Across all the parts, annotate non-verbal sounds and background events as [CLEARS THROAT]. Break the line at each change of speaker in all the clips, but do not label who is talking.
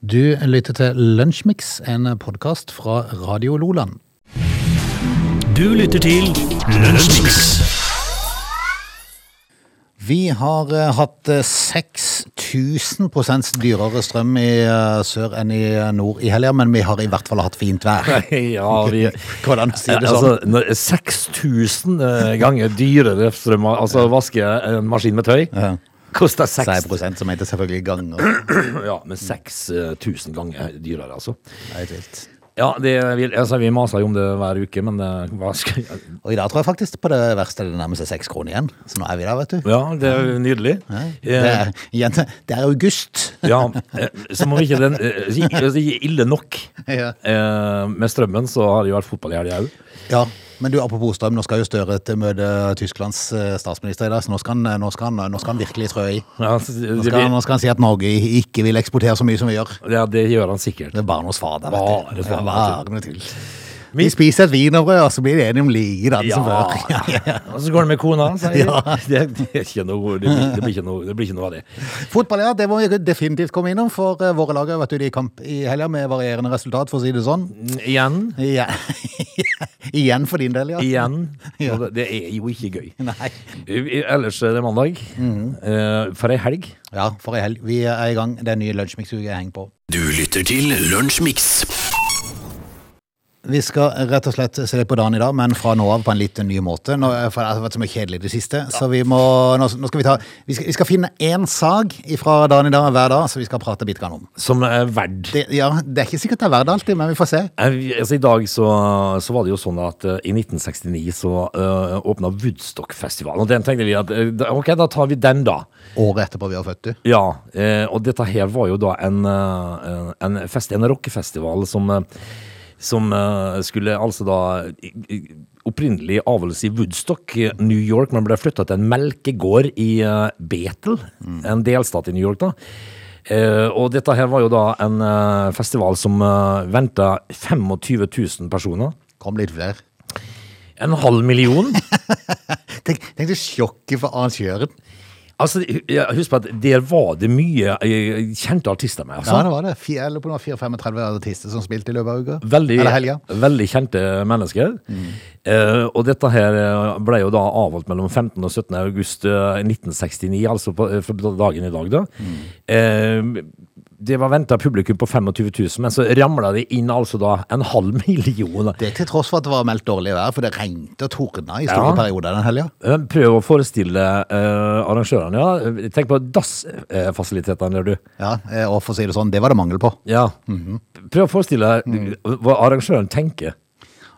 Du lytter til Lunsjmix, en podkast fra Radio Loland.
Du lytter til Lunsjmix.
Vi har eh, hatt eh, 6000 dyrere strøm i eh, sør enn i eh, nord i helga, men vi har i hvert fall hatt fint vær.
Ja, vi
Går det an å si det sånn?
altså, når- 6000 eh, ganger dyrere strøm Altså vaske en maskin med tøy
Ja.
koster
6
6
prosent, som heter selvfølgelig ganger.
[LAUGHS] Ja, men 6000 ganger dyrere, altså.
Det er helt vilt.
Ja, det, vi, altså, vi maser jo om det hver uke, men eh, hva skal jeg [LAUGHS]
Og i dag tror jeg faktisk på det verste det nærmer seg seks kroner igjen. Så nå er vi der, vet du.
Ja, det er jo nydelig.
Det
Eh,
er, igjen, det er august.
Ja, eh, som om ikke den eh, si- altså, ikke ille nok
[LAUGHS] Ja.
eh, med strømmen, så har det jo vært fotball i helga òg.
Ja, men du, apropos strøm, nå skal jo Støre til møte Tysklands eh, statsminister i dag, så nå skal han, eh, nå skal han, nå skal han virkelig trø i.
Ja, så det-
Nå skal, han, nå skal han si at Norge ikke vil eksportere så mye som vi gjør.
ja, det gjør han sikkert.
Det er bare noe svader,
Bare
vet du.
svader,
bare noe tull. Vi spiser et wienerbrød, og så blir de enige om like den som før.
[LAUGHS]
[LAUGHS]
Ja, Og så går det med kona. Så jeg, det, det, er ikke noe, det, blir, det, blir ikke noe, det blir ikke noe av det.
Fotball, ja, det må vi definitivt komme innom, for eh, våre lag har vært ute i kamp i helga med varierende resultat, for å si det sånn.
Mm, Igjen.
Ja. [LAUGHS] Igjen for din del, ja.
Igjen.
Ja.
Og det- Det er jo ikke gøy.
Nei.
I- i- Ellers er det mandag. Eh, For ei helg.
Ja, for ei helg. Vi er i gang. Det er en ny lunsjmiksuke jeg henger på.
Du lytter til Lunsjmix.
Vi skal rett og slett se litt på dagen i dag, men fra nå av på en litt ny måte. Nå, for det har vært så mye kjedelig i det siste. Så vi må Nå, nå skal vi ta Vi skal, vi skal finne én sag fra dagen i dag hver dag, så vi skal prate bitte grann om.
Som er verd.
Det, ja, det er ikke sikkert det er verdt alltid, men vi får se.
Eh, vi- Altså, I dag så, så var det jo sånn at eh, i 1969 så uh, åpna Woodstock-festivalen. Og den tenkte vi at eh, da- ok, da tar vi den, da.
Året etterpå vi har født, du.
Ja, eh, og dette her var jo da en, eh, en, fest, en rockefestival som, eh, som eh, skulle altså da i- i- opprinnelig avholdes i Woodstock, eh, New York, men ble flytta til en melkegård i eh, Bethel, en delstat i New York da. Eh, og dette her var jo da en eh, festival som eh, venta 25 000 personer.
Kom litt flere.
En halv million.
Tenk, tenk det sjokket for arrangøren.
altså, ja, Husk på at der var det mye eh, kjente artister med. altså.
Ja, det var det. Fire, jeg lurer på om det var 34 artister som spilte i løpet av uka.
Veldig,
Eller helga.
veldig kjente mennesker. Eh, og dette her eh, ble jo da avholdt mellom 15. og 17. august eh, 1969, altså på, eh, for dagen i dag, da. Eh, det var venta publikum på 25 000, men så ramla det inn altså da en halv [LAUGHS] million.
Det til tross for at det var meldt dårlig vær, for det regnet og tordna i store
Ja.
perioder den helga.
Eh, Prøv å forestille eh, arrangørene, ja. Tenk på dassfasilitetene der, du.
Ja, eh, og for å si det sånn, det var det mangel på.
Ja. Prøv å forestille deg hva arrangøren tenker.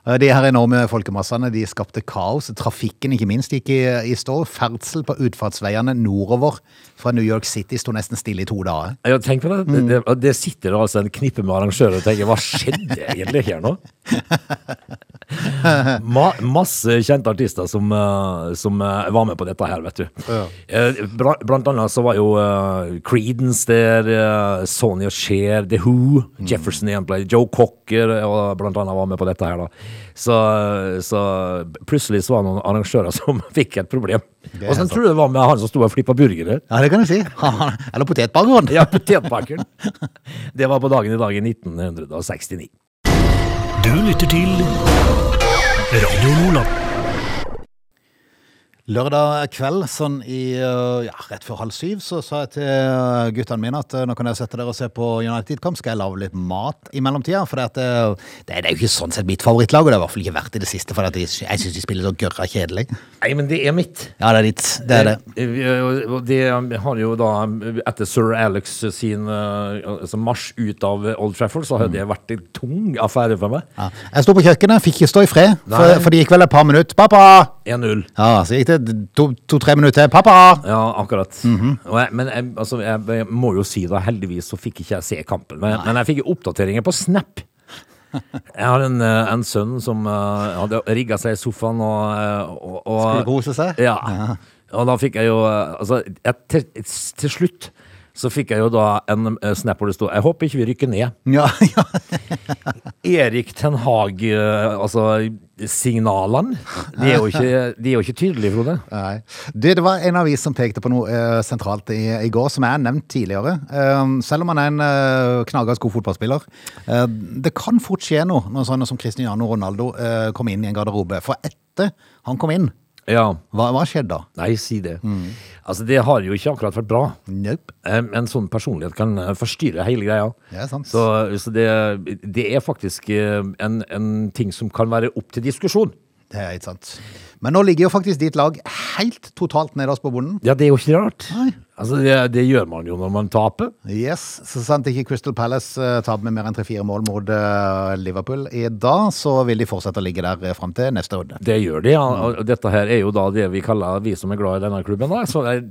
Eh, De her enorme folkemassene de skapte kaos. Trafikken ikke minst gikk i, i stå. Ferdsel på utfartsveiene nordover fra New York City sto nesten stille i to dager.
Ja, tenk på det.
Mm.
Det, det, det sitter det altså en knippe med arrangører og tenker hva skjedde egentlig her
[LAUGHS]
nå? Ma, masse kjente artister som, eh, som eh, var med på dette her, vet du.
Ja.
Eh, bra- Blant annet så var jo eh, Creedence der, eh, Sonja Scheer, The Who,
Mm.
Jefferson Airplane, Joe Cocker eh, og blant annet var med på dette her. da. Så, så plutselig så var det noen arrangører [LAUGHS] som fikk et problem.
er
Og så
helt
tror jeg det var med han som sto og flippa burgere.
Ja, det kan du si. [LAUGHS] Eller potetbakeren.
Ja, potetpakken. Det var på dagen i dag i 1969.
Du lytter til Radio Lola.
[LAUGHS] Lørdag kveld, sånn i eh, ja, rett før halv syv, så sa jeg til guttene mine at eh, nå kan dere sette dere og se på United-kamp. Skal jeg lage litt mat i mellomtida? For det, at, eh, det, det er jo ikke sånn sett mitt favorittlag, og det har i hvert fall ikke vært i det siste. For at de, jeg syns de spiller så gørra kjedelig.
Nei, men det er mitt.
Ja, det er ditt. Det er det.
Eh, og Det har jo da, etter sir Alex sin eh, altså marsj ut av Old Trafford, så har
Mm.
det vært en tung affære for meg.
Ja. Jeg sto på kjøkkenet, fikk ikke stå i fred, for,
Nei.
for det gikk vel et par minutter. 'Pappa!'
1-0.
Ja, så gikk det to-tre minutter. 'Pappa!'
Ja, akkurat.
Mhm.
og jeg, men jeg, altså, jeg, jeg må jo si da, heldigvis så fikk ikke jeg se kampen. Men, men jeg fikk oppdateringer på Snap.
[LAUGHS]
Jeg har en, eh, en sønn som eh, hadde rigga seg i sofaen og, eh, og, og
Skulle kose seg?
Ja. Og da fikk jeg jo eh, Altså, jeg, til, til slutt
[LAUGHS]
så fikk jeg jo da en eh, snap hvor det sto 'Jeg håper ikke vi rykker ned'.
Ja, ja.
Erik Ten Hag, eh, altså signalene, de er jo ikke, de er jo ikke tydelige, Frode.
Nei. Du, det var en avis som pekte på noe eh, sentralt i, i går, som jeg har nevnt tidligere. Eh, selv om han er en uh, knaggas god fotballspiller. eh, det kan fort skje noe når sånne som Cristiano Ronaldo eh, kommer inn i en garderobe. For etter han kom inn,
Ja.
hva, hva skjedde da?
Nei, si det.
Mm.
Altså, det har jo ikke akkurat vært bra.
Nope.
Eh, En sånn personlighet kan eh, forstyrre hele greia.
Det er sant.
Så, så det, det er faktisk eh, en, en ting som kan være opp til diskusjon.
Det er ikke sant. Men nå ligger jo faktisk ditt lag helt totalt nederst på bunnen.
Ja, det er jo ikke rart.
Nei.
Altså, det, det gjør man jo når man taper.
Yes, Så sant ikke Crystal Palace uh, taper med mer enn tre-fire mål mot eh, Liverpool i dag, så vil de fortsette å ligge der uh, fram til neste runde.
Det gjør de, ja.
Mm.
Og dette her er jo da det vi kaller, vi som er glad i denne klubben, da. Så det er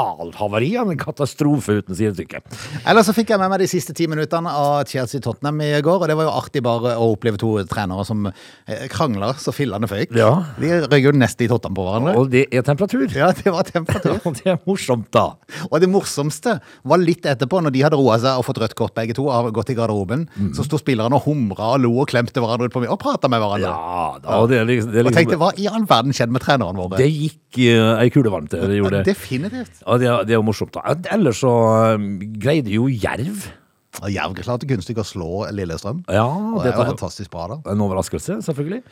totalhavari, ja, en katastrofe uten sidestykke.
Ellers så fikk jeg med meg de siste ti minuttene av Chelsea-Tottenham i går, og det var jo artig bare å oppleve to trenere som eh, krangler så fillene føyk.
Ja.
De røyk jo nesten i tottene på hverandre.
Og det er temperatur.
Ja, det var temperatur.
[LAUGHS] Og det er morsomt, da.
Og det morsomste var litt etterpå, når de hadde roa seg og fått rødt kort begge to, og gått i garderoben,
Mm.
så sto spillerne og humra og lo og klemte hverandre ut på meg og prata med hverandre.
Ja da. Og det er liksom, det er
Og tenkte
liksom
hva i all verden skjedde med trenerne våre?
Det gikk uh, ei kule varmt, det gjorde det.
Definitivt.
Ja, det, er- det er jo morsomt, da. Ellers så eh, greide jo Jerv
Og Jerv klarte kunstig å slå Lillestrøm.
Ja,
Og det
det
var
er
fantastisk bra, da.
en overraskelse, selvfølgelig.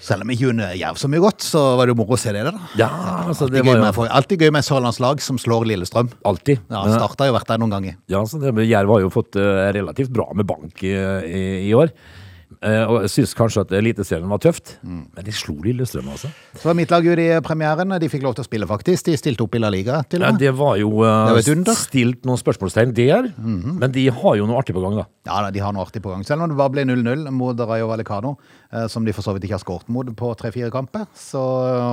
Selv om ikke hun eh, Jerv så mye godt, så var det jo moro å se det, da.
Ja, altså, det
Alltid gøy,
var
med,
jo
for, alltid gøy med et sørlandslag som slår Lillestrøm.
alltid.
Ja, altså. Starta jo vært der noen ganger.
Ja, så det, men Jerv har jo fått eh, relativt bra med bank eh, i, i år. Eh, og jeg syns kanskje at Eliteserien var tøft, men de slo Lillestrøm, altså.
Så var mitt lag ute i premieren. De fikk lov til å spille, faktisk. De stilte opp i La Liga, til
Ja,
og med.
det var jo eh,
Det var et under.
stilt noen spørsmålstegn der, men de har jo noe artig på gang, da.
Ja, da, De har noe artig på gang. Selv om det bare ble 0-0 mot Rayo Vallecano, eh, som de for så vidt ikke har skåret mot på tre-fire kamper, så,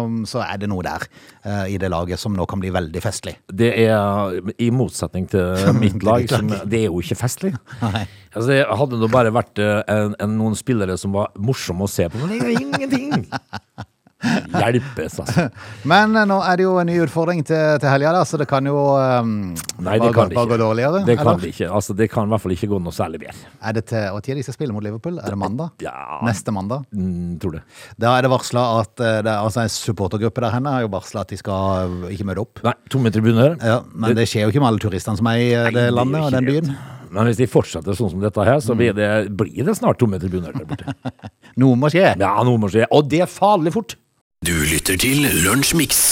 um, så er det noe der eh, i det laget som nå kan bli veldig festlig. [LAUGHS]
Det er, i motsetning til mitt lag, som, det er jo ikke festlig.
[LAUGHS] Nei.
Altså, det hadde det bare vært eh, en, en, noen spillere som var morsomme å se på, men det er jo
[LAUGHS]
ingenting! Hjelpes, altså.
Men eh, nå er det jo en ny utfordring til, til helga, da, så det kan jo um,
Nei,
bare,
det kan
gå-
det
bare gå
ikke.
dårligere.
Det kan
eller?
det ikke. Altså, det kan i hvert fall ikke gå noe særlig bedre.
Er det til Når de skal spille mot Liverpool? Er det mandag?
Ja.
Neste mandag?
Mm, tror det.
Da er det varsla at eh, det, er- altså En supportergruppe der henne har jo varsla at de skal eh, ikke møte opp.
Nei, tomme tribuner.
Ja, men det skjer jo ikke med alle turistene som er i eh, det landet og den byen. Mm.
Men hvis de fortsetter sånn som dette her, så blir det, blir det snart tomme tribuner der borte.
Noe må skje.
Ja, noe må skje. Og det er farlig fort!
Du lytter til Lunsjmix.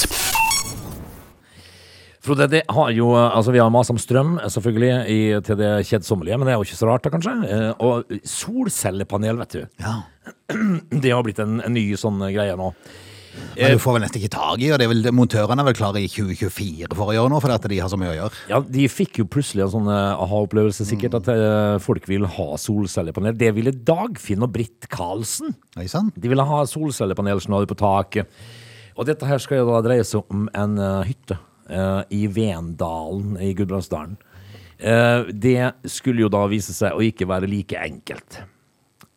Frode, det har jo, altså vi har mast om strøm, selvfølgelig, i, til det kjedsommelige, men det er jo ikke så rart da, kanskje. Eh, Og solcellepanel, vet du. [CLEARS THROAT]
Ja.
Det har blitt en, en ny sånn greie nå.
Men du får vel nesten ikke tak i, og det er vel, montørene er vel klare i 2024 for å gjøre noe, fordi at de har så mye å gjøre.
Ja, De fikk jo plutselig en sånn eh, aha-opplevelse, sikkert,
Mm.
at eh, folk vil ha solcellepanel. Det ville Dagfinn og Britt Karlsen.
Ikke sant?
De ville ha solcellepanel som hadde på taket. Og dette her skal jo da dreie seg om en eh, hytte eh, i Vendalen i Gudbrandsdalen. Eh, det skulle jo da vise seg å ikke være like enkelt.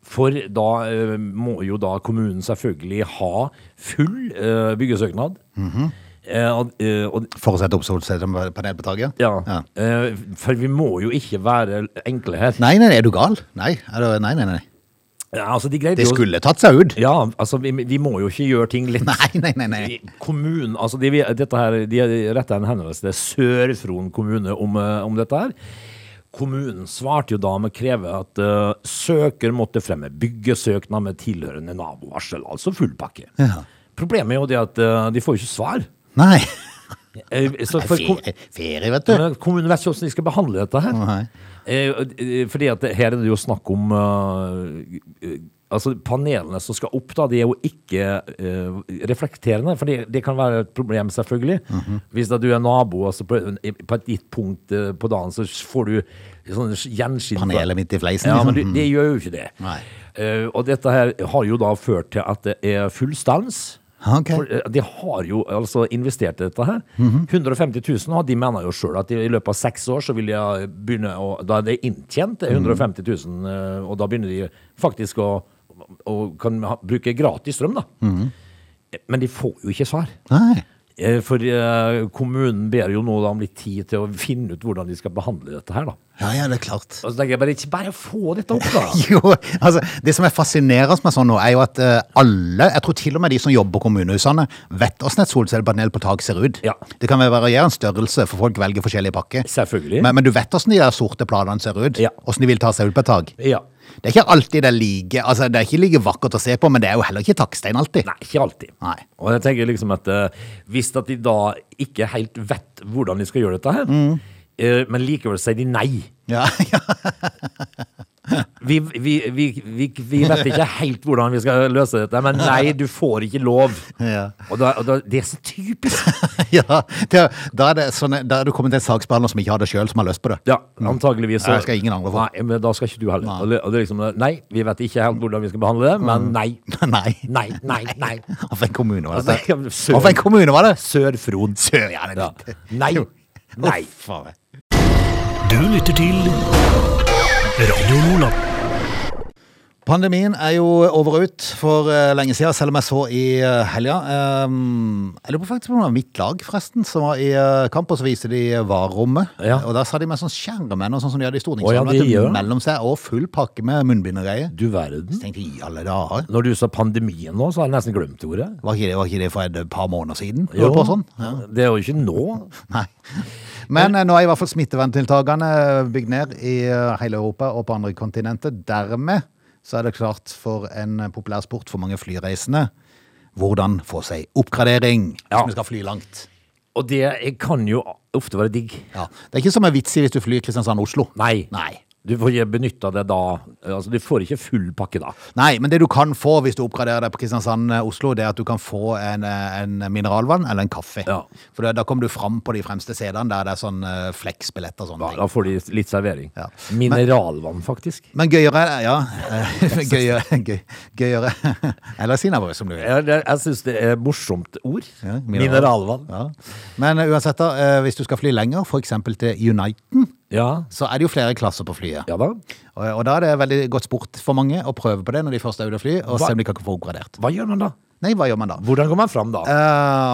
For da eh, må jo da kommunen selvfølgelig ha full eh, byggesøknad.
Mhm.
Eh, og, eh, og,
For å sette opp solcellepanel på taket?
ja, eh, for vi må jo ikke være enkle her.
Nei, nei, nei, er du gal? Nei, er du, nei, nei, nei.
Ja, altså, de greide
Det
jo
skulle tatt seg ut.
Ja, altså, vi, vi må jo ikke gjøre ting litt
[LAUGHS] Nei, nei, nei. nei.
I Kommunen, altså de, dette her, de rettet en henvendelse til Sør-Fron kommune om, eh, om dette her. Kommunen svarte jo da med å kreve at eh, søker måtte fremme byggesøknad med tilhørende nabovarsel, altså full pakke.
Ja.
Problemet er jo det at eh, de får jo ikke svar.
Nei.
Eh, så for kom-
Ferie, ferie, vet du.
men kommunen vet ikke hvordan de skal behandle dette her.
Nei.
Eh, eh, Fordi at det- her er det jo snakk om eh, eh, Altså Panelene som skal opp, da, de er jo ikke eh, reflekterende. For det, det kan være et problem, selvfølgelig.
Mhm.
Hvis da du er nabo, altså på, på et gitt punkt eh, på dagen så får du sånn gjenskinn fra-
Panelet midt i fleisen.
Ja,
liksom.
men det, det gjør jo ikke det.
Nei.
Eh, og dette her har jo da ført til at det er full stans.
Ok.
For, eh, de har jo altså investert i dette her. 150 000, og de mener jo sjøl at de, i løpet av seks år så vil de eh, begynne å Da er det inntjent det er 150 000, eh, og da begynner de faktisk å og kan ha, bruke gratis strøm, da. Eh, Men de får jo ikke svar.
Nei.
Eh, For eh, kommunen ber jo nå da om litt tid til å finne ut hvordan de skal behandle dette her, da.
Ja, ja, det er klart.
Og så tenker jeg bare, ikke bare få dette opp, da!
[LAUGHS] Jo, altså, Det som er fascinerende med sånn nå, er jo at eh, alle, jeg tror til og med de som jobber på kommunehusene, vet åssen et solcellepanel på tak ser ut.
Ja.
Det kan vel variere en størrelse, for folk velger forskjellige pakker.
Selvfølgelig.
Men, men du vet åssen de der sorte planene ser ut?
Ja.
Åssen de vil ta seg ut på et tak?
[LAUGHS] Ja.
Det er ikke alltid det er like altså det er ikke like vakkert å se på, men det er jo heller ikke takkstein alltid.
Nei, ikke alltid.
Nei.
Og jeg tenker liksom at eh, hvis at de da ikke helt vet hvordan de skal gjøre dette her,
Mm.
eh, men likevel sier de nei.
Ja, ja.
Vi, vi, vi, vi, vi vet ikke helt hvordan vi skal løse dette, men nei, du får ikke lov.
[LAUGHS] Ja.
Og, da, og da, det er så typisk.
[LAUGHS] ja. Det, da, er det sånn, da er du kommet til en saksbehandler som ikke har det sjøl, som har lyst på det.
Ja, antageligvis. så-
Mm. Nei, det skal ingen angre på.
Nei, men da skal ikke du heller. Og det, og det er liksom, nei, vi vet ikke helt hvordan vi skal behandle det,
Mm.
men nei.
[LAUGHS] Nei.
Nei, nei, nei.
Hva for en kommune var det?
Altså, ja, men søren.
Hva for en kommune var det?
Sør-Fron.
Sør, ja, det
Ja.
er riktig. [LAUGHS]
Nei. Nei.
Faen.
Du lytter til Radio Nordland.
Pandemien er jo over og ut for eh, lenge siden, selv om jeg så i eh, helga. Um, jeg lurer på faktisk om det var mitt lag, forresten, som var i eh, kamp, og så viste de varerommet.
Ja.
Og der sa de med sånn skjermen og sånn som de hadde i
Å ja,
Stortingssalen,
de
vet du,
gjør det.
mellom seg, og full pakke med munnbindereie.
Du verden.
Tenkte i alle dager.
Når du sa pandemien nå, så har jeg nesten glemt ordet.
Var ikke det, var ikke det for et eh, par måneder siden? Du holdt på sånn? [LAUGHS] Ja.
Det er jo ikke nå.
Nei. Men eh, nå er i hvert fall smitteverntiltakene bygd ned i eh, hele Europa og på andre kontinenter. Dermed så er det klart for en eh, populær sport for mange flyreisende. Hvordan få seg oppgradering hvis
Ja.
vi skal fly langt.
Og det kan jo ofte være digg.
Ja. Det er ikke som en vits i hvis du flyr Kristiansand-Oslo.
Nei.
Nei.
Du får ikke benytta det da. Altså, du får ikke full pakke da.
Nei, men det du kan få hvis du oppgraderer deg på Kristiansand-Oslo, det er at du kan få en, eh, en mineralvann eller en kaffe.
Ja.
For da- da kommer du fram på de fremste sedene der det er sånn eh, fleksbillett og sånne
Da,
ting.
da får de litt servering.
Ja.
Mineralvann, faktisk.
Men gøyere er det, ja. [LAUGHS] Eh, Gøyere, gøy, gøyere. Eller sinnabrød, som du vil.
Jeg, jeg, jeg syns det er morsomt ord.
Ja, mineral.
mineralvann.
Ja. Men eh, uansett, da, eh, hvis du skal fly lenger, f.eks. til Uniten,
Ja.
så er det jo flere klasser på flyet.
ja da.
Og, og da er det veldig godt sport for mange å prøve på det når de først er ute og fly, og
Hva-
se om de kan få oppgradert.
Hva gjør man da?
Nei, hva gjør man da?
Hvordan går man fram
Eh.
da?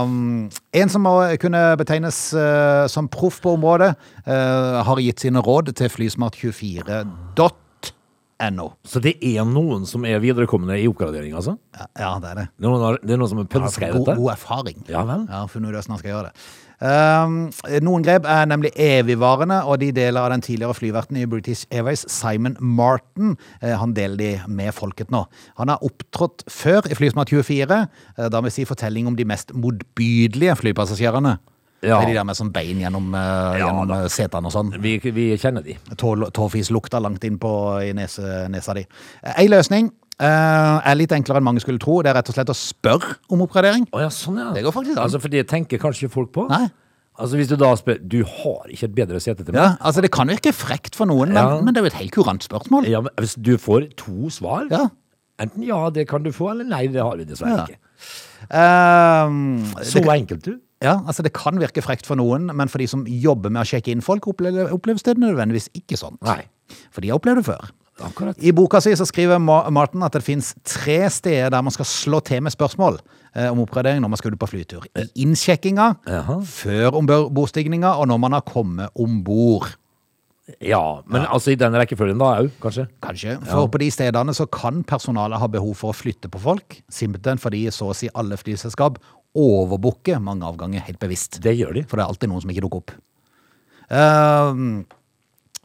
Ehm, en som må kunne betegnes eh, som proff på området, eh, har gitt sine råd til flysmart24.no.
Så det er noen som er viderekomne i oppgradering, altså?
Ja, Ja, det er det.
Noen har, det er noen som er pønska i
god,
dette?
god erfaring.
Ja vel.
Ja, funnet ut hvordan han skal gjøre det. Um, noen grep er nemlig evigvarende, og de deler av den tidligere flyverten i British Airways, Simon Martin. Eh, han deler de med folket nå. Han har opptrådt før i Flysmart 24, eh, da med si fortelling om de mest motbydelige flypassasjerene.
Ja.
Det er De der med sånn bein gjennom, eh,
Ja,
gjennom
da.
eh, setene og sånn.
Vi, vi kjenner de.
Tå- tåfislukta langt inn på i nese, nesa di. Ei løsning eh, er litt enklere enn mange skulle tro. Det er rett og slett å spørre om oppgradering.
Å ja, sånn ja.
Det går faktisk an.
Altså, for det tenker kanskje ikke folk på.
Nei.
Altså, hvis du da spør Du har ikke et bedre sete til meg?
Ja, altså Det kan virke frekt for noen, men,
Ja.
men det er jo et helt kurant spørsmål.
Ja, men hvis du får to svar,
Ja.
enten ja, det kan du få, eller nei, det har vi dessverre
Ja.
ikke.
Ehm,
Så enkelt, du.
ja, altså Det kan virke frekt for noen, men for de som jobber med å sjekke inn folk, opple- oppleves det nødvendigvis ikke sånn.
Nei.
For de har opplevd det før.
Akkurat.
I boka si så skriver Ma- Martin at det finnes tre steder der man skal slå til med spørsmål eh, om oppgradering når man skal ut på flytur. I innsjekkinga, før ombordstigninga og når man har kommet om bord.
Ja, men altså i den rekkefølgen da òg, kanskje.
Kanskje. For på de stedene så kan personalet ha behov for å flytte på folk, simpelthen fordi så å si alle flyselskap overbooker mange avganger helt bevisst.
Det gjør de.
For det er alltid noen som ikke dukker opp. Ehm,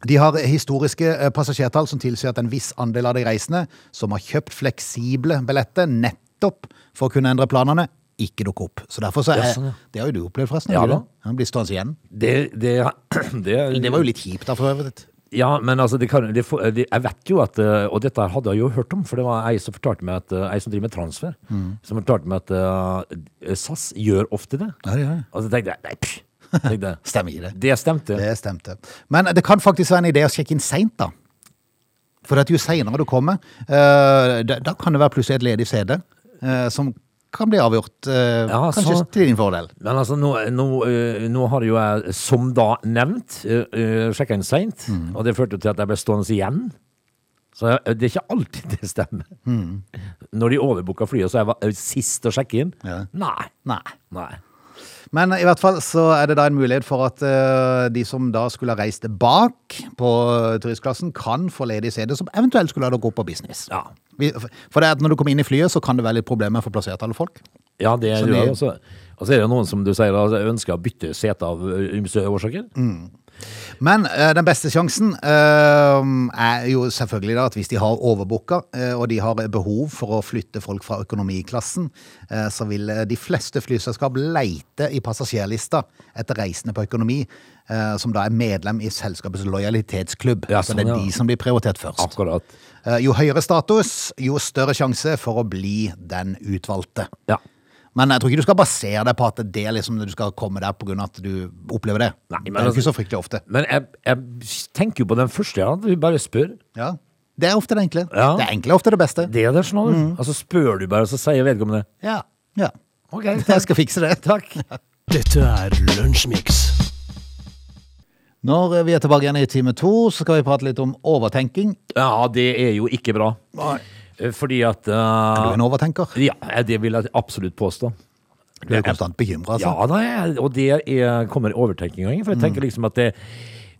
de har historiske eh, passasjertall som tilsier at en viss andel av de reisende som har kjøpt fleksible billetter nettopp for å kunne endre planene, ikke dukker opp. Så derfor så
Ja,
er,
sånn, ja.
Det har jo du opplevd, forresten.
Ja
du,
da.
Han blir stående igjen.
Det, det, [CLEARS THROAT] det,
Det var jo litt kjipt, da, for øvrig.
Ja, men altså, det kan, det, får- det, jeg vet jo at eh, Og dette her hadde jeg jo hørt om, for det var ei som fortalte meg at eh, Ei som driver med transfer,
Mm.
som fortalte meg at eh, SAS gjør ofte det.
Ja, det gjør det.
Og så tenkte jeg nei, pff, tenkte jeg.
Stemmer ikke det?
Det stemte.
Det stemte. Men det kan faktisk være en idé å sjekke inn seint, da. For at jo seinere du kommer, eh, da, da kan det være plutselig et ledig CD eh, som kan bli avgjort eh,
Ja,
kanskje
så-
til din fordel.
Men altså, nå, nå, eh, nå har jo jeg, som da nevnt, sjekka inn seint,
Mm.
og det førte jo til at jeg ble stående igjen. Så jeg, det er ikke alltid det stemmer.
Mm.
Når de overbooka flyet, så jeg var eh, sist å sjekke inn.
Ja.
Nei.
Nei.
Nei.
Men i hvert fall så er det da en mulighet for at eh, de som da skulle ha reist bak på eh, turistklassen, kan få ledig CD som eventuelt skulle ha da gått på business.
Ja.
Vi- For det at når du kommer inn i flyet, så kan det være litt problemer for å få plassert alle folk.
Ja, det
Så
gjør
de-
det. Og så og så er det noen som du sier da, ønsker å bytte sete av ymse årsaker.
Mm. Men eh, den beste sjansen eh, er jo selvfølgelig da at hvis de har overbooka, eh, og de har behov for å flytte folk fra økonomiklassen, eh, så vil eh, de fleste flyselskap leite i passasjerlista etter reisende på økonomi, eh, som da er medlem i selskapets lojalitetsklubb.
Ja,
så det
sånn,
er
ja.
de som blir prioritert først.
Akkurat.
Eh, jo høyere status, jo større sjanse for å bli den utvalgte.
Ja.
Men jeg tror ikke du skal basere deg på at det er liksom du skal komme der pga. at du opplever det.
Nei, men
det er jo
altså-
ikke så fryktelig ofte.
Men jeg, jeg tenker jo på den første, ja. Du bare spør.
Ja. Det er ofte det enkle.
Ja.
Det enkle er ofte det beste.
Det er det, sånn,
Mm.
Altså spør du bare, så sier vedkommende
Ja. ja.
OK,
Jeg skal fikse det.
[LAUGHS] takk.
Dette er Lunsjmix.
Når vi er tilbake igjen i time to, så skal vi prate litt om overtenking.
Ja, det er jo ikke bra. Eh,
Nei.
Fordi at
Er du
eh,
en overtenker?
Ja, det vil jeg absolutt påstå.
Du er konstant bekymra,
Ja,
altså.
da er, og det er, kommer overtenkinga inn. For jeg
Mm.
tenker liksom at det,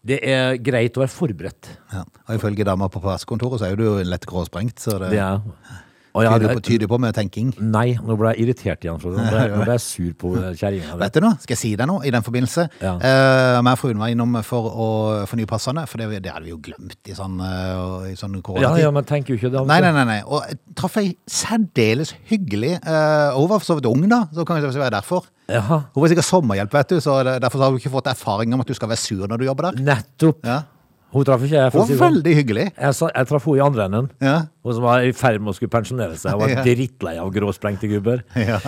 det er greit å være forberedt.
Ja. Og ifølge dama på passkontoret så er jo du lett gråsprengt, så det,
Det er og jeg,
tyder, på, tyder på med tenking.
Nei, nå ble jeg irritert igjen. Frode. Nå ble jeg, nå ble jeg sur på kjerringa.
Vet du noe? Skal jeg si deg noe i den forbindelse?
Ja.
Eh, meg og fruen var innom for å fornye passene, for det, det hadde vi jo glemt i sånn, eh, i sånn
Ja,
koronatid.
ja, men tenker jo ikke det. altså.
Nei, nei, nei, nei. Og jeg traff ei særdeles hyggelig eh, Hun var for så vidt ung, da, så kan det være derfor.
Jaha,
Hun var sikkert sommerhjelp, vet du, så det- derfor har hun ikke fått erfaring om at du skal være sur når du jobber der.
nettopp.
Ja.
Hun traff ikke jeg. for å
Hun
si det
var
sånn.
veldig
[LAUGHS]
hyggelig.
Jeg, sa- jeg traff henne i andre enden.
Ja.
Hun som var i ferd med å skulle pensjonere seg. Hun var
Ja.
drittlei av gråsprengte gubber.
Ja.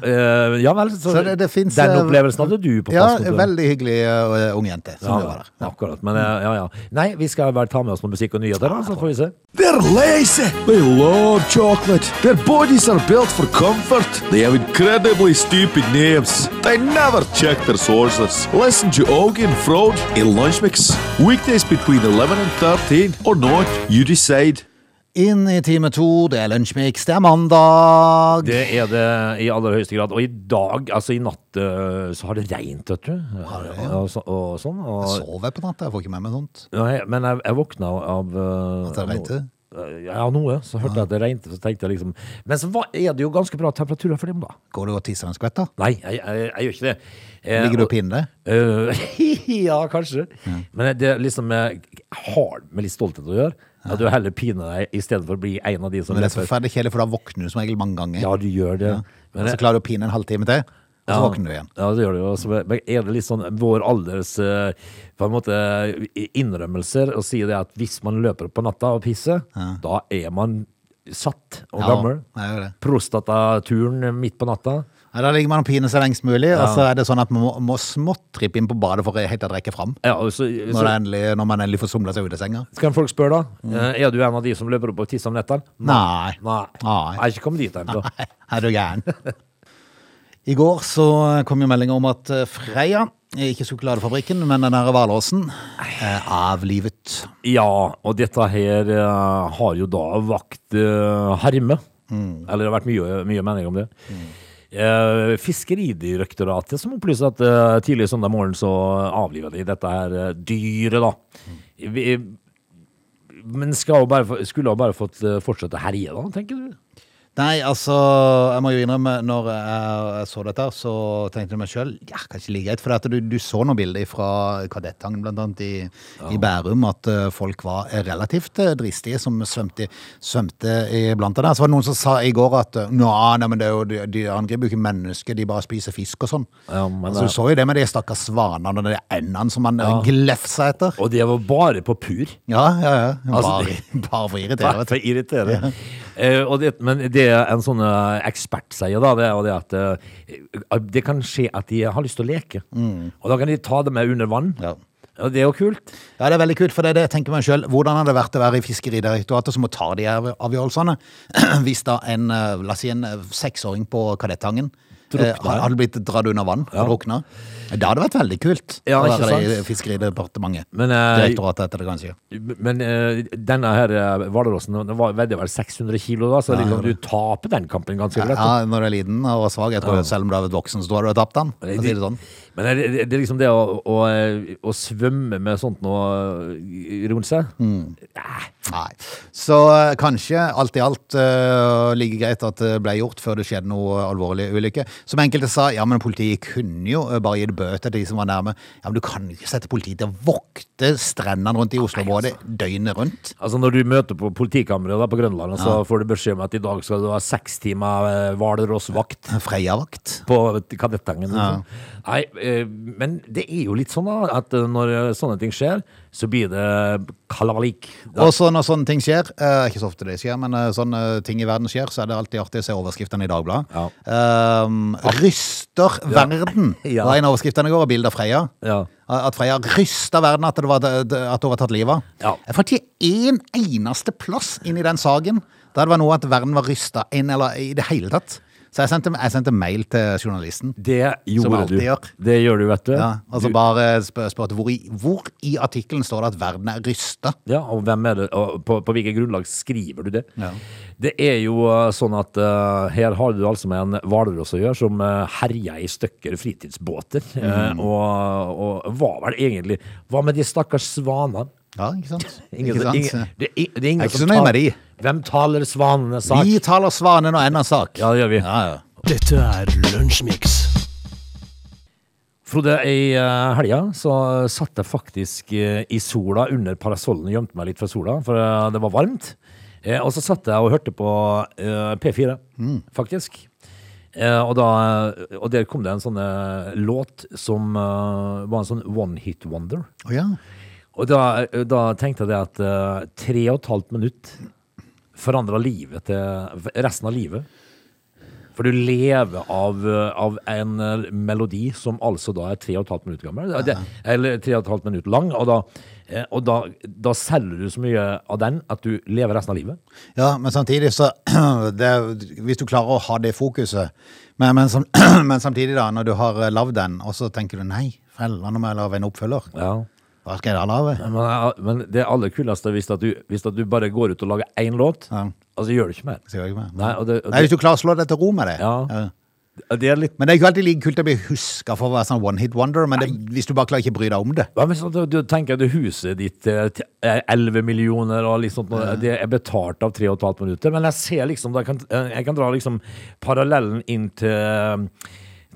Eh, ja vel, så,
Så det, det fins
den opplevelsen hadde du på
Ja,
passkontoret.
veldig hyggelig eh, ung jente som
Ja,
jobber der.
akkurat. Men eh, ja, ja. Nei, vi skal bare ta med oss noe musikk og nyheter, da, så får vi se.
They're lazy. They love chocolate. Their bodies are built for comfort. They have incredibly stupid names. They never check their sources. Listen to Augie and Frode in Lunch Mix. Weekdays between 11 and 13 or not, you decide.
Inn i time to, det er lunsjmix, det er mandag.
Det er det i aller høyeste grad. Og i dag, altså i natt, eh, så har det regnet, vet du. Og, så, og sånn.
Jeg
Og,
sover på natta, jeg får ikke med meg sånt.
nei, men jeg, jeg våkna av eh,
At det
no-
regnet?
Eh, Ja, noe. Så hørte jeg at det regnet, så tenkte jeg liksom Men så var, er det jo ganske bra temperaturer for dem, da.
Går du og tisser en skvett, da?
Nei, jeg, jeg, jeg gjør ikke det. Eh,
Ligger du
og-
og pinner deg?
Eh,
[LAUGHS]
ja, kanskje. Men det er liksom eh, har med litt stolthet å gjøre. At du heller piner deg i stedet for å bli en av de som
Men det er
løper.
forferdelig kjedelig, for da våkner du som regel mange ganger.
Ja, du gjør det. Men
Og så
jeg-
klarer du å pine en halvtime til, og så
Ja.
våkner du igjen.
Ja, det gjør det jo. Altså, Men er det litt sånn vår alders eh, på en måte innrømmelser å si det at hvis man løper på natta og pisser, da er man satt og
Ja,
gammel?
det er jo det.
Prostataturen midt på natta?
Ja, da ligger man og piner seg lengst mulig, og så er det sånn at man må, må smått trippe inn på badet for å helt å rekke fram.
Ja, og så,
Når, det Mm.
så
endelig, når man endelig får somla seg ut av senga.
kan folk spørre, da. eh, Er du en av de som løper opp og tisser om nettene?
Nei.
Nei.
Nei.
Jeg har ikke kommet dit ennå.
Nei, [LAUGHS] er du gæren? [LAUGHS] I går så kom jo meldinga om at eh, Freia, ikke sjokoladefabrikken, men den her Hvalåsen, eh, er avlivet.
Ja, og dette her eh, har jo da vakt eh, herme. Eller det har vært mye, mye mening om det. Eh, Fiskeridirektoratet som opplyser at eh, tidlig søndag morgen så avliva de dette her eh, dyret, da. Vi, men skal jo bare, få- skulle jo bare fått eh, fortsette å herje, da, tenker du?
Nei, altså, jeg må jo innrømme, når jeg så dette, her, så tenkte jeg meg sjøl ja, kanskje like greit. For at du, du så noen bilder fra Kadettangen, blant annet, i, i Bærum, at eh, folk var relativt eh, dristige som svømte, svømte iblant der. Så var det noen som sa i går at eh, nå, nei, men det er jo, de, de angriper jo ikke mennesker, de bare spiser fisk og sånn.
Ja, men eh,
altså,
det-
du så jo det med de stakkars svanene og de endene som man ja. glefsa etter.
Og det var bare på pur.
Ja, ja, ja.
Altså,
Bare, bare for å irritere.
Bare
vet du.
for å irritere. Eh, og det, men det en sånn eh, ekspert sier, da, det er jo det at eh, det kan skje at de har lyst til å leke. Og da kan de ta det med under vann.
Mm. Ja.
Og det er jo kult.
Ja, det er veldig kult, for det er det jeg tenker meg selv. Hvordan hadde det vært å være i Fiskeridirektoratet som må ta [CLEARS THROAT] de her avgjørelsene? Hvis da en, eh, la oss si en eh, seksåring på Kadettangen Eh,
Drukna, ja.
hadde blitt dratt under vann og drukna. Det hadde vært veldig kult
Ja,
å
ikke
være i
sant?
Fiskeridepartementet.
Men, eh,
Direktoratet heter det kanskje.
Men eh, denne her eh, Hvalrossen den var- veide vel 600 kilo, da, så det er litt sånn, du taper den kampen ganske greit. da.
Ja, når du er liten og svak, jeg tror selv om du har vært voksen, så tror jeg du har tapt den. for å Si det sånn.
Men er det, det er liksom det å, å, eh, å svømme med sånt noe eh, rundt seg
Mm. Nei. Så eh, kanskje alt i alt eh, like greit at det ble gjort før det skjedde noe alvorlig ulykke. Som enkelte sa, ja, men politiet kunne jo eh, bare gi det bøter til de som var nærme. Ja, men du kan jo ikke sette politiet til å vokte strendene rundt i Oslo-området døgnet rundt.
Altså Når du møter på politikammeret da, på Grønland, og så får du beskjed om at i dag skal du ha seks timer eh, hvalrossvakt
Freia-vakt.
på kadettangen. Liksom. Nei, eh, men det er jo litt sånn da, at eh, når eh, sånne ting skjer, så blir det kalabalik. Da,
Og så når sånne ting skjer, eh, ikke så ofte det skjer, men eh, sånne ting i verden skjer, så er det alltid artig å se overskriftene i Dagbladet.
Ja. Ah.
Ehm, ryster verden,
[LAUGHS] Ja.
var en av overskriftene i går, og bildet av Freia.
Ja.
At Freia rysta verden at det var, at det var tatt livet av.
Ja.
Jeg fant ikke én eneste plass inn i den saken der det var noe at verden var rysta inn, eller i det hele tatt. Så jeg sendte, jeg sendte mail til journalisten.
det gjorde
alltid
du.
gjør.
Det gjør du, vet du.
Ja, altså bare spør, spurte hvor, i- hvor i artikkelen står det at verden er rysta?
Ja, og hvem er det, og på, på hvilket grunnlag skriver du det?
Ja.
Det er jo eh, sånn at eh, her har du altså med en hvalross å gjøre, som eh, herja i stykker fritidsbåter.
Mm.
eh, og, og var vel egentlig Hva med de stakkars svanene?
Ja, ikke sant?
[LAUGHS] Ingen-
Ikke sant?
ingen- det, er ing- det er ingen
Jeg er ikke
som
så nøye med
tar-
de.
Hvem taler svanenes sak?
Vi taler svanen og ender sak.
Ja, det gjør vi.
Ja, ja.
Dette er Lunsjmix.
Frode, i eh, helga så satt jeg faktisk eh, i sola under parasollen og gjemte meg litt fra sola, for eh, det var varmt. Eh, Og så satt jeg og hørte på eh, P4, faktisk. Eh, Og, da, og der kom det en sånn eh, låt som eh, var en sånn one hit wonder.
Å, ja.
Og da, da tenkte jeg det at eh, tre og et halvt minutt forandra livet til resten av livet. For du lever av, eh, av en eh, melodi som altså da er tre og et halvt minutt gammel. Det- Eller tre og et halvt minutt lang. Og, da, eh, og da, da selger du så mye av den at du lever resten av livet.
ja, men samtidig så [CLEARS THROAT] det, er- Hvis du klarer å ha det fokuset, men, men, sam, [CLEARS THROAT] men samtidig, da, når du har lagd den, og så tenker du nei, fella, nå må jeg lage en oppfølger.
Ja.
Hva skal jeg da lage?
Men, eh, men det aller kuleste er hvis at du, hvis at du bare går ut og lager én låt,
Ja.
altså gjør du ikke mer.
Sier jeg ikke mer.
Nei, og det- og
Nei,
det-
hvis du klarer å slå deg til ro med det.
Ja. Det er litt
Men det er ikke alltid like kult å bli huska for å være sånn one hit wonder, men det, hvis du bare klarer ikke å bry deg om det.
Hva med sånn at du, du tenker at huset ditt eh, til- eh, 11 millioner og litt sånt, noe, det er betalt av 3,5 minutter, men jeg ser liksom, da kan, eh, jeg kan dra liksom parallellen inn til, eh,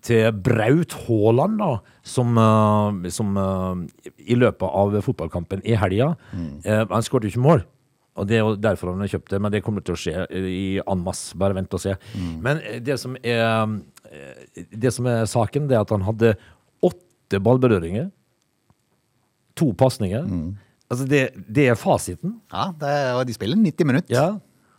til Braut Haaland da, som, eh, som eh, i løpet av fotballkampen i helga, eh, han skårte jo ikke mål. Og det er jo derfor han har kjøpt det, men det kommer til å skje eh, i en masse. Bare vent og se. Men eh, det som, er, eh, det som er saken, det er at han hadde åtte ballberøringer to pasninger. Altså det, det er fasiten.
Ja, det, er- Og de spiller 90 minutter.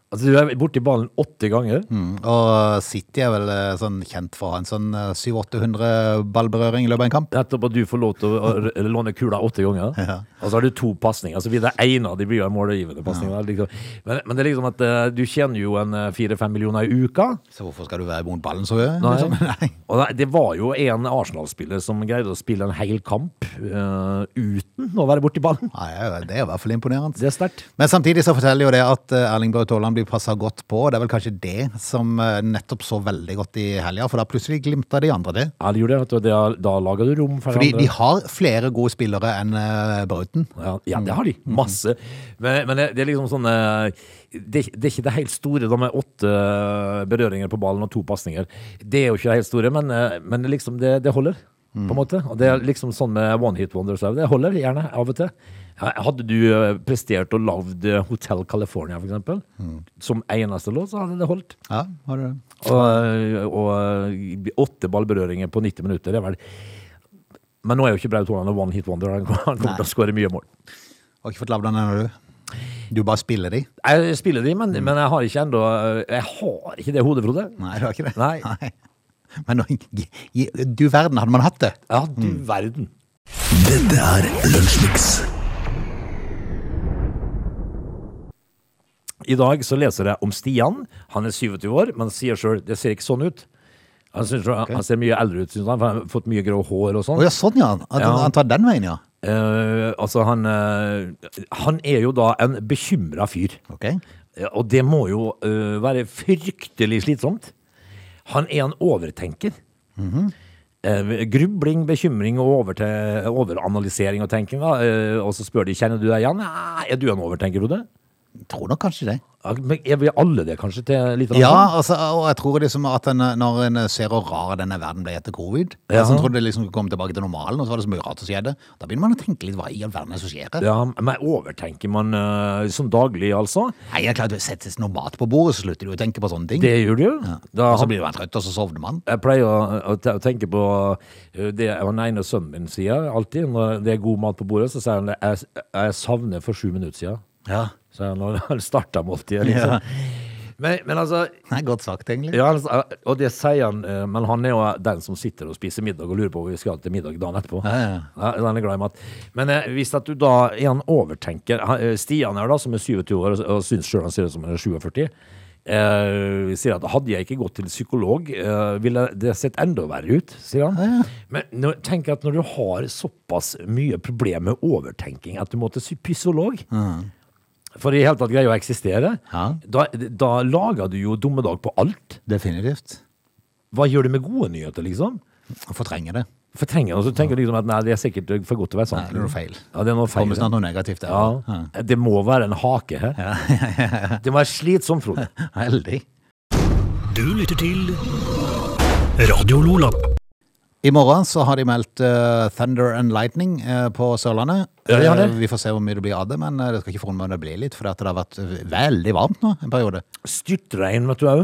Altså du er borti ballen åtte ganger.
Mm, Og City er vel eh, sånn kjent for å ha en sånn eh, 700-800 ballberøring i løpet av en kamp.
Nettopp at du får lov til å å r- låne kula åtte ganger.
Ja.
Og så har du to pasninger. Så blir det ene av de blir jo en målgivende pasning. da, Liksom. Men, men det er liksom at eh, du tjener jo en fire-fem millioner i uka.
Så hvorfor skal du være imot ballen så mye?
Nei.
Liksom? [LAUGHS] Nei.
Og det- det var jo en Arsenal-spiller som greide å spille en hel kamp eh, uten å være borti ballen.
Nei, det er i hvert fall imponerende.
Det er sterkt.
Men samtidig så forteller jo det at eh, Erling Braut Haaland blir passa godt på. og Det er vel kanskje det som eh, nettopp så veldig godt i helga, for da plutselig glimta de andre det.
Ja, det gjorde det. vet du, og det- Da lager du rom for
Fordi
andre.
de har flere gode spillere enn eh, Brauten.
Ja, ja, det har de. Masse. Men, men det, det er liksom sånn eh, det, det er ikke det helt store, da, med åtte eh, berøringer på ballen og to pasninger. Det er jo ikke det helt store, men, eh, men det liksom det, det holder. På en måte. Og det er liksom sånn med one hit wonders. også. Det holder gjerne, av og til. Ja, Hadde du eh, prestert og lagd eh, Hotel California, for eksempel, som eneste låt, så hadde det holdt.
Ja, har du det?
Og, og åtte ballberøringer på 90 minutter, det er vel Men nå er jo ikke Braut Haaland en one hit wonder. Han kommer han kommer til å skåre mye mål.
Har ikke fått lagd den ennå, du? Du bare spiller de?
Jeg spiller de, men, men jeg har ikke enda Jeg har ikke det hodet, Frode.
[LAUGHS] Nei, du har ikke det?
Nei.
Men nå- gi- gi- du verden, hadde man hatt det?
Ja, du verden.
Mm. Dette er Lunsjmix.
I dag så leser jeg om Stian. Han er 27 år, men sier sjøl det ser ikke sånn ut. Han, synes, jo- han ser mye eldre ut, syns han. For han har fått mye grå hår og sånn.
Å ja, sånn ja. At
Ja.
han tar den veien, ja.
Eh, altså, han eh, Han er jo da en bekymra fyr.
Ok.
Ja, Og det må jo eh, være fryktelig slitsomt. Han er en overtenker.
Mhm.
Eh, grubling, bekymring og overte- overanalysering og tenking. da. Eh, og så spør de kjenner du deg igjen. Nei, er du en overtenker, Frode?
Tror nok kanskje det.
Ja, men Er vi alle det, kanskje? til litt av det?
Ja, altså, og jeg tror liksom at en, når en ser hvor rar denne verden ble etter covid
Ja.
altså, En trodde det liksom skulle komme tilbake til normalen, og så var det så mye rart som skjedde. Da begynner man å tenke litt hva i all verden er det som skjer her.
ja, Men overtenker man eh, som daglig, altså?
Nei, jeg er klart, det settes noe mat på bordet, så slutter du å tenke på sånne ting.
Det gjør du jo. Da
Og så blir man trøtt, og så sovner man.
Jeg pleier å, å te- å tenke på uh, det han ene sønnen min sier alltid når det er god mat på bordet. Så sier han jeg, jeg savner for sju minutter siden.
Ja.
Sier han når [LAUGHS] han starta måltidet. Liksom. Men, men altså
Nei, godt sagt, egentlig.
ja, han sa- Og det sier han, eh, men han er jo den som sitter og spiser middag og lurer på hva vi skal til middag dagen etterpå.
Ja, ja.
han er glad i mat. Men eh, hvis at du da er en overtenker han- eh, Stian her, da, som er 27 år og, og syns sjøl han ser ut som han er 47, eh, sier at hadde jeg ikke gått til psykolog, eh, ville det sett enda verre ut, sier han. Men nå, tenk at når du har såpass mye problem med overtenking at du må til psy- psykolog for i hele tatt greier å eksistere,
Ja.
da, da lager du jo dommedag på alt.
Definitivt.
Hva gjør du med gode nyheter, liksom?
Fortrenger det.
Fortrenger og så tenker du liksom at nei, det er sikkert for godt til å være sant.
Nei, det er noe feil.
Ja, det er noe feil.
Kommer snart noe negativt der.
Ja. Det må være en hake her.
[LAUGHS]
det må være slitsomt, Frode.
Ja. Heldig.
Du lytter til Radio Lola.
I morgen så har de meldt eh, Thunder and Lightning eh, på Sørlandet.
Ja, de har det.
Eh, vi får se hvor mye det blir av det, men eh, det skal ikke forundre meg om det blir litt, for at det har vært eh, veldig varmt nå en periode.
Styrtregn, vet du òg.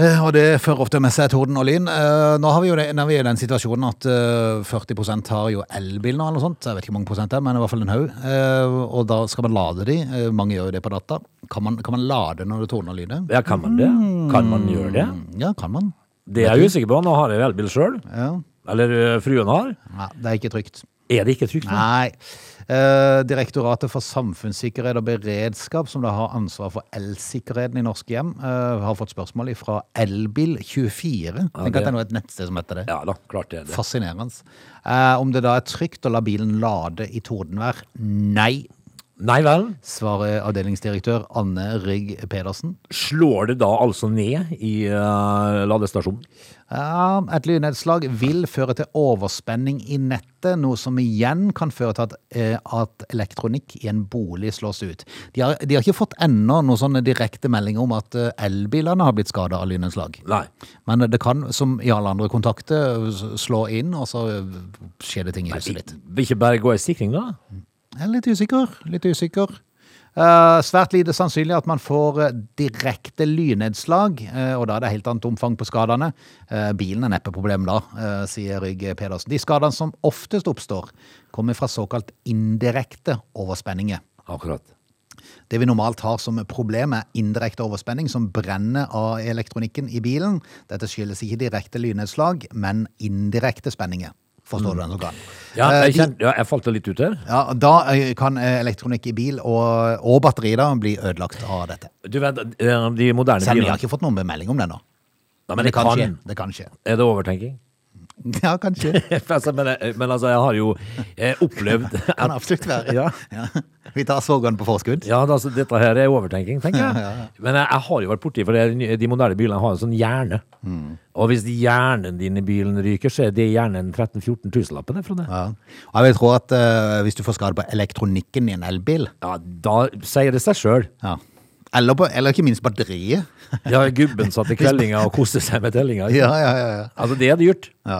Eh, Og det fører ofte med seg torden og lyn. Eh, Nå har vi jo det, nå er vi i den situasjonen at eh, 40 har jo elbil nå, eller noe sånt. Jeg vet ikke hvor mange prosent det er, men i hvert fall en haug. Eh, Og da skal man lade de. Eh, Mange gjør jo det på data. Kan man, kan man lade når det tordner og lyner?
Ja, kan man det?
Mm.
Kan man gjøre det?
Ja, kan man.
Det er jeg usikker på. Nå har jeg elbil sjøl.
Ja.
Eller ø, fruen har.
Nei, det er ikke trygt.
Er det ikke trygt? nå?
Nei. Eh, Direktoratet for samfunnssikkerhet og beredskap, som da har ansvar for elsikkerheten i norske hjem, eh, har fått spørsmål fra Elbil24. Tenk at
det-
det er noe et nettsted som heter det.
Ja da, klart det er det.
Fascinerende. Eh, om det da er trygt å la bilen lade i tordenvær? Nei,
Nei vel.
svarer avdelingsdirektør Anne Rygg Pedersen.
Slår det da altså ned i ø, ladestasjonen?
Ja, et lynnedslag vil føre til overspenning i nettet, noe som igjen kan føre til at, eh, at elektronikk i en bolig slås ut. De har, de har ikke fått ennå noen sånne direkte meldinger om at eh, elbilene har blitt skada av lynnedslag.
Nei.
Men det kan, som i alle andre kontakter, s- slå inn, og så eh, skjer det ting i huset ditt.
Vil ikke bare gå i sikring, da?
Jeg er litt usikker. Litt usikker. Eh, svært lite sannsynlig at man får eh, direkte lynnedslag, eh, og da er det helt annet omfang på skadene. Eh, bilen er neppe problemet da, eh, sier Rygg Pedersen. De skadene som oftest oppstår, kommer fra såkalt indirekte overspenninger.
Akkurat.
Det vi normalt har som problem er indirekte overspenning som brenner av elektronikken i bilen. Dette skyldes ikke direkte lynnedslag, men indirekte spenninger. Forstår du den så godt?
Ja,
Eh,
jeg,
de-
kjenner, ja, jeg falt litt ut her.
Ja, da eh, kan eh, elektronikk i bil og, og batteri da bli ødelagt av dette.
Du vet, eh, de moderne
Selv om vi
bilene
har ikke fått noen melding om det ennå.
Nei,
Men det kan skje. Det kan skje. [LAUGHS]
Er det overtenking? [LAUGHS]
Ja, kanskje. Det
Altså, men, eh, men altså, jeg har jo eh,
[LAUGHS]
opplevd at
kan absolutt være.
[LAUGHS] Ja.
Ja. Vi tar sorgene på forskudd.
ja, altså, dette her er overtenking, tenker jeg. Men jeg, jeg har jo vært borti, for det er ny- de moderne bilene har en sånn hjerne.
Mm.
Og hvis hjernen din i bilen ryker, så er det gjerne en 13 000-14 000-lappen, det, Frode. Ja.
Ja. Og jeg vil tro at eh, hvis du får skade på elektronikken i en elbil,
da sier det seg sjøl.
ja. eller, på, eller ikke minst batteriet
Ja,
[LAUGHS]
gubben satt i kveldinga og koste seg med tellinga.
Ja, ja, ja. ja.
Altså, det er dyrt.
Ja.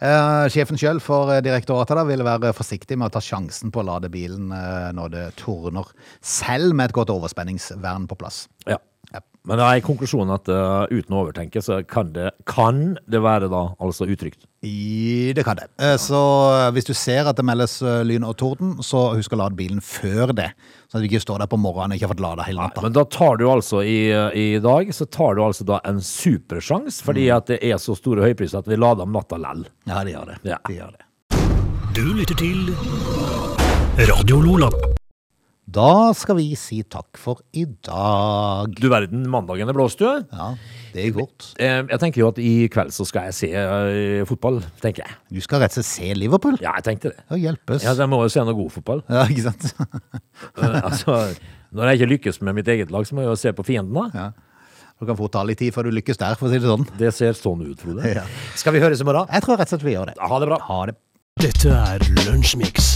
Eh, sjefen sjøl for eh, direktoratet da, ville være forsiktig med å ta sjansen på å lade bilen eh, når det tordner, selv med et godt overspenningsvern på plass.
Ja.
Ja.
Men da er konklusjonen at eh, uten å overtenke, så kan det, kan det være da altså utrygt.
I, det kan det. Eh, Så eh, hvis du ser at det meldes eh, lyn og torden, så husk å lade bilen før det. Sånn at du ikke står der på morgenen og ikke har fått lada hele natta.
Men da tar du altså i, i dag så tar du altså da en supersjans, fordi
Mm.
at det er så store høypriser at vi lader om natta lell.
Ja, de gjør det.
Ja.
De gjør det.
Du lytter til Radio Lola.
Da skal vi si takk for i dag.
Du verden, mandagen er blåst, du.
Ja, det er godt.
Eh, Jeg tenker jo at i kveld så skal jeg se eh, fotball, tenker jeg.
Du skal rett og slett se Liverpool.
Ja, jeg tenkte det.
Ja, hjelpes.
Ja, Jeg må jo se noe god
[LAUGHS]
fotball. [LAUGHS]
Ja, ikke sant?
Eh, altså, når jeg ikke lykkes med mitt eget lag, så må jeg jo se på fiendene.
Ja. Du kan fort ta litt tid før du lykkes der, for å si det sånn.
Det ser sånn ut, Frode.
[LAUGHS] Ja.
Skal vi høres i morgen?
Jeg tror rett og slett vi gjør det.
Ha det bra.
Ha det.
Dette er Lunsjmix.